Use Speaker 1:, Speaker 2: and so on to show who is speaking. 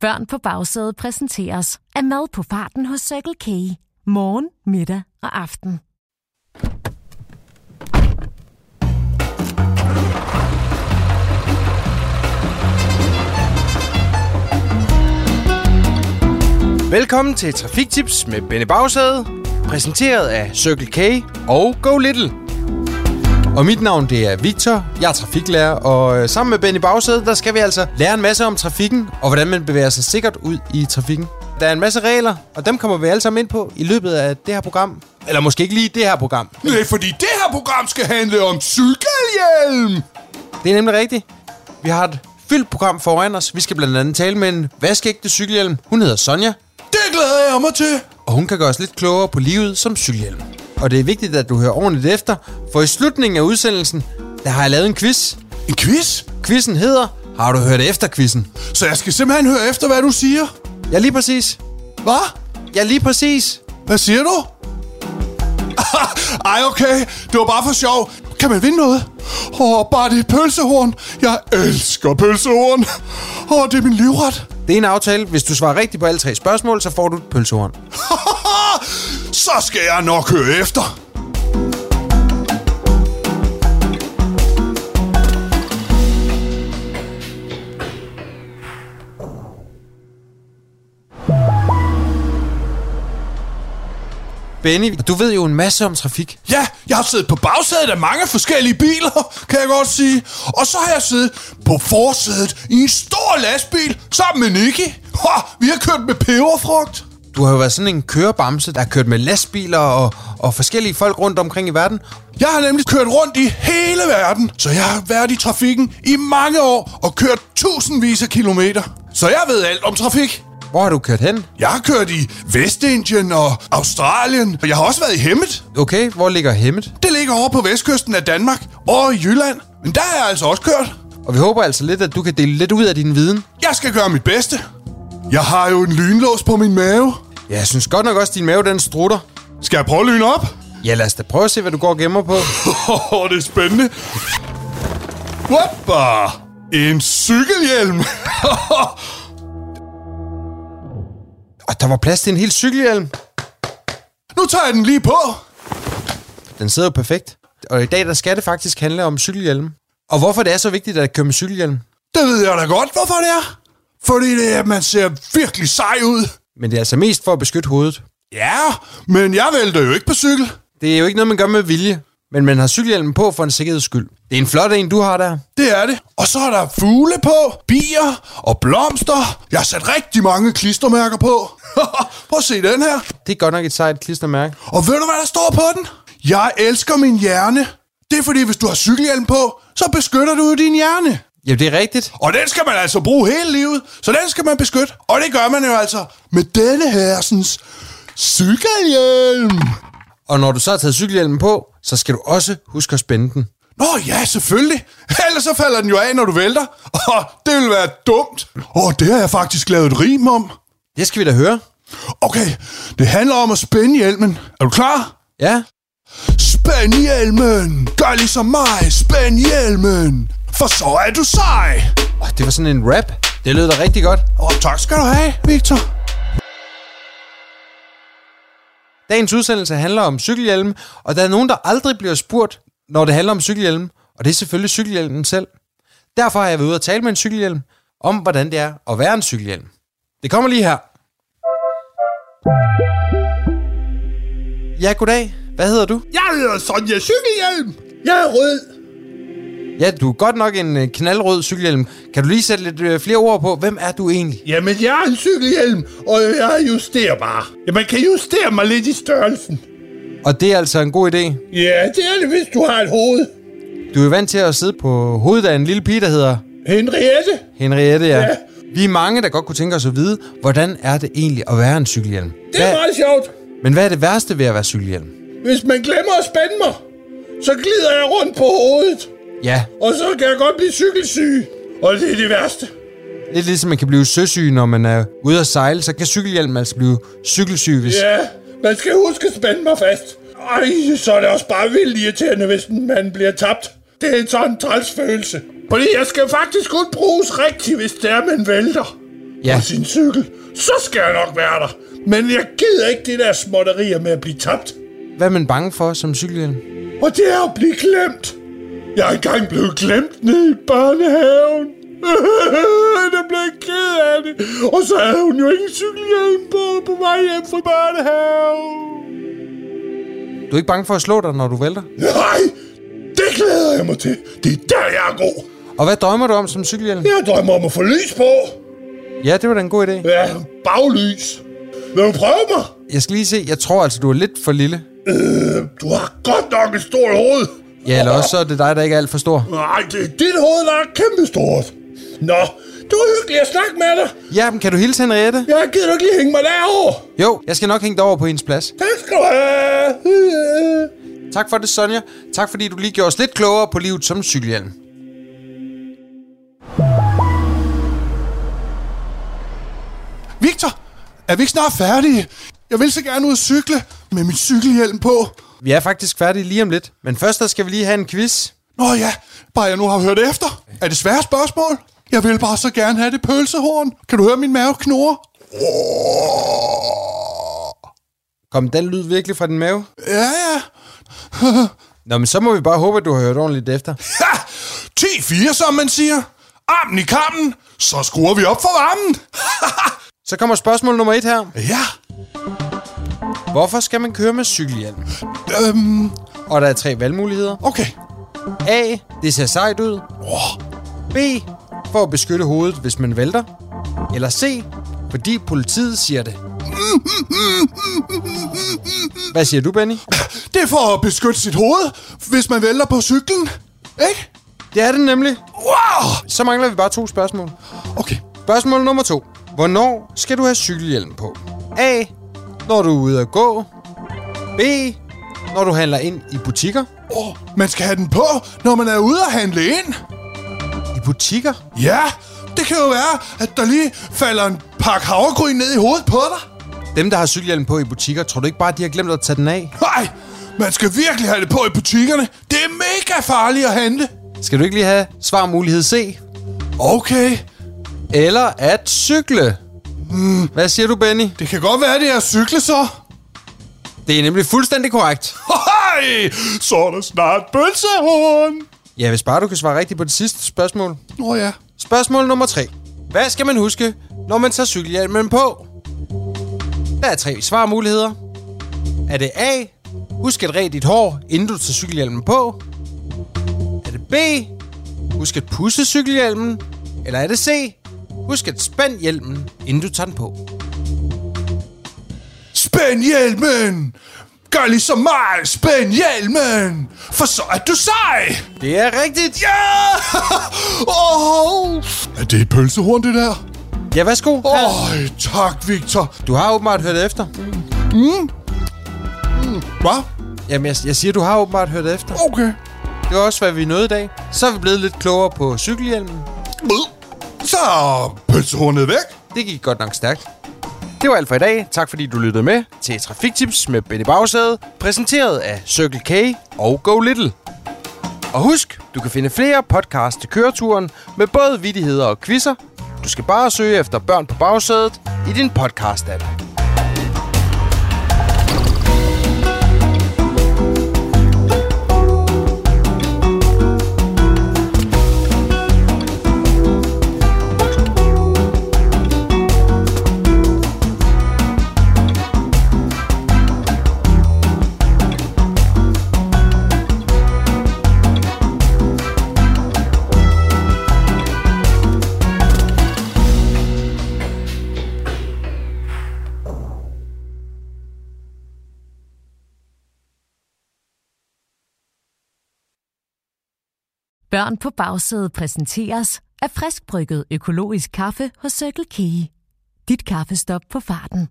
Speaker 1: Børn på bagsædet præsenteres af mad på farten hos Circle K. Morgen, middag og aften.
Speaker 2: Velkommen til Trafiktips med Benny Bagsæde, præsenteret af Circle K og Go Little. Og mit navn det er Victor, jeg er trafiklærer, og øh, sammen med Benny Bagsæde, der skal vi altså lære en masse om trafikken, og hvordan man bevæger sig sikkert ud i trafikken. Der er en masse regler, og dem kommer vi alle sammen ind på i løbet af det her program. Eller måske ikke lige det her program.
Speaker 3: Nej, fordi det her program skal handle om cykelhjelm.
Speaker 2: Det er nemlig rigtigt. Vi har et fyldt program foran os. Vi skal blandt andet tale med en vaskeægte cykelhjelm. Hun hedder Sonja,
Speaker 3: Det glæder jeg mig til.
Speaker 2: og hun kan gøre os lidt klogere på livet som cykelhjelm. Og det er vigtigt, at du hører ordentligt efter, for i slutningen af udsendelsen, der har jeg lavet en quiz.
Speaker 3: En quiz?
Speaker 2: Quizzen hedder, har du hørt efter quizzen?
Speaker 3: Så jeg skal simpelthen høre efter, hvad du siger.
Speaker 2: Ja, lige præcis.
Speaker 3: Hvad?
Speaker 2: Ja, lige præcis.
Speaker 3: Hvad siger du? Ej, okay. Det var bare for sjov. Kan man vinde noget? Åh, oh, bare det er pølsehorn. Jeg elsker pølsehorn. Åh, oh, det er min livret.
Speaker 2: Det er en aftale. Hvis du svarer rigtigt på alle tre spørgsmål, så får du et pølsehorn.
Speaker 3: Så skal jeg nok høre efter.
Speaker 2: Benny, du ved jo en masse om trafik.
Speaker 3: Ja, jeg har siddet på bagsædet af mange forskellige biler, kan jeg godt sige. Og så har jeg siddet på forsædet i en stor lastbil sammen med Nicky. Ha, vi har kørt med peberfrugt.
Speaker 2: Du har jo været sådan en kørebamse, der har kørt med lastbiler og, og forskellige folk rundt omkring i verden.
Speaker 3: Jeg har nemlig kørt rundt i hele verden, så jeg har været i trafikken i mange år og kørt tusindvis af kilometer. Så jeg ved alt om trafik.
Speaker 2: Hvor har du kørt hen?
Speaker 3: Jeg har kørt i Vestindien og Australien, og jeg har også været i Hemmet.
Speaker 2: Okay, hvor ligger hemmet?
Speaker 3: Det ligger over på vestkysten af Danmark og i Jylland. Men der har jeg altså også kørt.
Speaker 2: Og vi håber altså lidt, at du kan dele lidt ud af din viden.
Speaker 3: Jeg skal gøre mit bedste. Jeg har jo en lynlås på min mave.
Speaker 2: Ja, jeg synes godt nok også, at din mave den strutter.
Speaker 3: Skal jeg prøve at lyne op?
Speaker 2: Ja, lad os da prøve at se, hvad du går og gemmer på.
Speaker 3: Åh, det er spændende. Whoppa! En cykelhjelm!
Speaker 2: Og der var plads til en hel cykelhjelm.
Speaker 3: nu tager jeg den lige på.
Speaker 2: Den sidder jo perfekt. Og i dag, der skal det faktisk handle om cykelhjelm. Og hvorfor det er så vigtigt at køre med cykelhjelm.
Speaker 3: Det ved jeg da godt, hvorfor det er. Fordi det er, at man ser virkelig sej ud.
Speaker 2: Men det er altså mest for at beskytte hovedet.
Speaker 3: Ja, men jeg vælter jo ikke på cykel.
Speaker 2: Det er jo ikke noget, man gør med vilje. Men man har cykelhjelmen på for en sikkerheds skyld. Det er en flot en, du har der.
Speaker 3: Det er det. Og så er der fugle på, bier og blomster. Jeg har sat rigtig mange klistermærker på. Prøv at se den her.
Speaker 2: Det er godt nok et sejt klistermærke.
Speaker 3: Og ved du, hvad der står på den? Jeg elsker min hjerne. Det er fordi, hvis du har cykelhjelm på, så beskytter du jo din hjerne.
Speaker 2: Ja, det er rigtigt.
Speaker 3: Og den skal man altså bruge hele livet, så den skal man beskytte. Og det gør man jo altså med denne hersens cykelhjelm.
Speaker 2: Og når du så har taget cykelhjelmen på, så skal du også huske at spænde den.
Speaker 3: Nå ja, selvfølgelig. Ellers så falder den jo af, når du vælter. Og det vil være dumt. Og det har jeg faktisk lavet et rim om.
Speaker 2: Det skal vi da høre.
Speaker 3: Okay, det handler om at spænde hjelmen. Er du klar?
Speaker 2: Ja,
Speaker 3: Spænd hjelmen! Gør ligesom mig, spænd hjelmen! For så er du sej!
Speaker 2: oh, det var sådan en rap. Det lød da rigtig godt.
Speaker 3: Og tak skal du have, Victor.
Speaker 2: Dagens udsendelse handler om cykelhjelme, og der er nogen, der aldrig bliver spurgt, når det handler om cykelhjelme, og det er selvfølgelig cykelhjelmen selv. Derfor har jeg været ude og tale med en cykelhjelm om, hvordan det er at være en cykelhjelm. Det kommer lige her. Ja, goddag. Hvad hedder du?
Speaker 3: Jeg hedder Sonja Cykelhjelm. Jeg er rød.
Speaker 2: Ja, du er godt nok en øh, knaldrød cykelhjelm. Kan du lige sætte lidt øh, flere ord på, hvem er du egentlig?
Speaker 3: Jamen, jeg er en cykelhjelm, og jeg er justerbar. Ja, man kan justere mig lidt i størrelsen.
Speaker 2: Og det er altså en god idé.
Speaker 3: Ja, det er det, hvis du har et hoved.
Speaker 2: Du er jo vant til at sidde på hovedet af en lille pige, der hedder
Speaker 3: Henriette?
Speaker 2: Henriette, ja. ja.
Speaker 3: Ja.
Speaker 2: Vi er mange, der godt kunne tænke os at vide, hvordan er det egentlig at være en cykelhjelm?
Speaker 4: Det er meget sjovt.
Speaker 2: Men hvad er det værste ved at være cykelhjelm?
Speaker 4: Hvis man glemmer at spænde mig, så glider jeg rundt på hovedet.
Speaker 2: Ja,
Speaker 4: Og så kan jeg godt blive cykelsyg. Og det er det værste.
Speaker 2: lidt ligesom man kan blive søsyg, når man er ude at sejle, så kan cykelhjelmen altså blive cykelsyg, hvis...
Speaker 4: Ja, man skal huske at spænde mig fast. Ej, så er det også bare vildt irriterende, hvis en mand bliver tabt. Det er en sådan træls følelse. Fordi jeg skal faktisk kun bruges rigtigt, hvis det er, man vælter.
Speaker 2: Ja.
Speaker 4: på sin cykel, så skal jeg nok være der. Men jeg gider ikke det der småtterier med at blive tabt.
Speaker 2: Hvad er man bange for som cykelhjelm?
Speaker 4: Og det er at blive glemt. Jeg er engang blevet glemt nede i børnehaven. Jeg blev ked af det. Og så havde hun jo ingen cykelhjelm på på vej hjem fra børnehaven.
Speaker 2: Du er ikke bange for at slå dig, når du vælter?
Speaker 4: Nej, det glæder jeg mig til. Det er der, jeg er god.
Speaker 2: Og hvad drømmer du om som cykelhjelm?
Speaker 4: Jeg drømmer om at få lys på.
Speaker 2: Ja, det var da en god idé.
Speaker 4: Ja, baglys. Vil du prøve mig?
Speaker 2: Jeg skal lige se. Jeg tror altså, du er lidt for lille.
Speaker 4: Øh, du har godt nok et stort hoved.
Speaker 2: Ja, eller også så er det dig, der ikke er alt for stor.
Speaker 4: Nej, det er dit hoved, der er kæmpestort. Nå, det var hyggeligt at snakke med dig.
Speaker 2: Ja, men kan du hilse Henriette?
Speaker 4: Jeg gider du ikke lige hænge mig derovre.
Speaker 2: Jo, jeg skal nok hænge dig over på hendes plads.
Speaker 4: Tak skal du have.
Speaker 2: Tak for det, Sonja. Tak fordi du lige gjorde os lidt klogere på livet som cykelhjelm.
Speaker 3: Victor, er vi ikke snart færdige? Jeg vil så gerne ud og cykle med min cykelhjelm på.
Speaker 2: Vi er faktisk færdige lige om lidt, men først der skal vi lige have en quiz.
Speaker 3: Nå ja, bare jeg nu har hørt efter. Er det svære spørgsmål? Jeg vil bare så gerne have det pølsehorn. Kan du høre min mave knurre?
Speaker 2: Kom den lyd virkelig fra din mave?
Speaker 3: Ja, ja.
Speaker 2: Nå, men så må vi bare håbe, at du har hørt ordentligt efter.
Speaker 3: Ha! 10-4, som man siger. Armen i kammen, så skruer vi op for varmen.
Speaker 2: Så kommer spørgsmål nummer et her.
Speaker 3: Ja,
Speaker 2: Hvorfor skal man køre med cykelhjelm?
Speaker 3: øhm,
Speaker 2: Og der er tre valgmuligheder.
Speaker 3: okay.
Speaker 2: A. Det ser sejt ud.
Speaker 3: Oh,
Speaker 2: B. For at beskytte hovedet, hvis man vælter. Eller C. Fordi politiet siger det. Hvad siger du, Benny?
Speaker 3: det er for at beskytte sit hoved, hvis man vælter på cyklen. Ikke?
Speaker 2: Det er det nemlig.
Speaker 3: Wow!
Speaker 2: Så mangler vi bare to spørgsmål.
Speaker 3: Okay.
Speaker 2: Spørgsmål nummer to. Hvornår skal du have cykelhjelm på? A. Når du er ude at gå. B. Når du handler ind i butikker.
Speaker 3: Oh, man skal have den på, når man er ude at handle ind.
Speaker 2: I butikker?
Speaker 3: Ja, det kan jo være, at der lige falder en pakke havregryn ned i hovedet på dig.
Speaker 2: Dem, der har cykelhjelm på i butikker, tror du ikke bare, de har glemt at tage den af?
Speaker 3: Nej, man skal virkelig have det på i butikkerne. Det er mega farligt at handle.
Speaker 2: Skal du ikke lige have svarmulighed C?
Speaker 3: Okay,
Speaker 2: Eller at cykle? Hvad siger du, Benny?
Speaker 3: det kan godt være, det er at cykle så.
Speaker 2: Det er nemlig fuldstændig korrekt.
Speaker 3: Hej, så er der snart pølsehorn.
Speaker 2: Ja, hvis bare du kan svare rigtigt på det sidste spørgsmål.
Speaker 3: Nå ja.
Speaker 2: Spørgsmål nummer 3. Hvad skal man huske, når man tager cykelhjelmen på? Der er tre svarmuligheder. Er det A. Husk at ræde dit hår, inden du tager cykelhjelmen på. Er det B. Husk at pusse cykelhjelmen. Eller er det C. Husk at spænde hjelmen, inden du tager den på.
Speaker 3: Spænd hjelmen. Gør ligesom mig, spænd hjelmen. For så er du sej.
Speaker 2: Det er rigtigt!
Speaker 3: Ja! Åh! Er det et pølsehorn, det der?
Speaker 2: Ja, værsgo. Oh.
Speaker 3: Åh, tak, Victor.
Speaker 2: Du har åbenbart hørt efter.
Speaker 3: Hvad?
Speaker 2: Jamen, jeg, jeg siger, du har åbenbart hørt efter.
Speaker 3: Okay.
Speaker 2: Det var også, hvad vi nåede i dag. Så er vi blevet lidt klogere på cykelhjelmen.
Speaker 3: Bød. Så er pølsehornet væk.
Speaker 2: Det gik godt nok stærkt. Det var alt for i dag. Tak fordi du lyttede med til Trafiktips med Benny Bagsæde, præsenteret af Circle K og Go Little. Og husk, du kan finde flere podcasts til køreturen med både vidigheder og quizzer. Du skal bare søge efter børn på bagsædet i din podcast-app.
Speaker 1: Børn på bagsædet præsenteres af friskbrygget økologisk kaffe hos Circle K. Dit kaffestop på farten.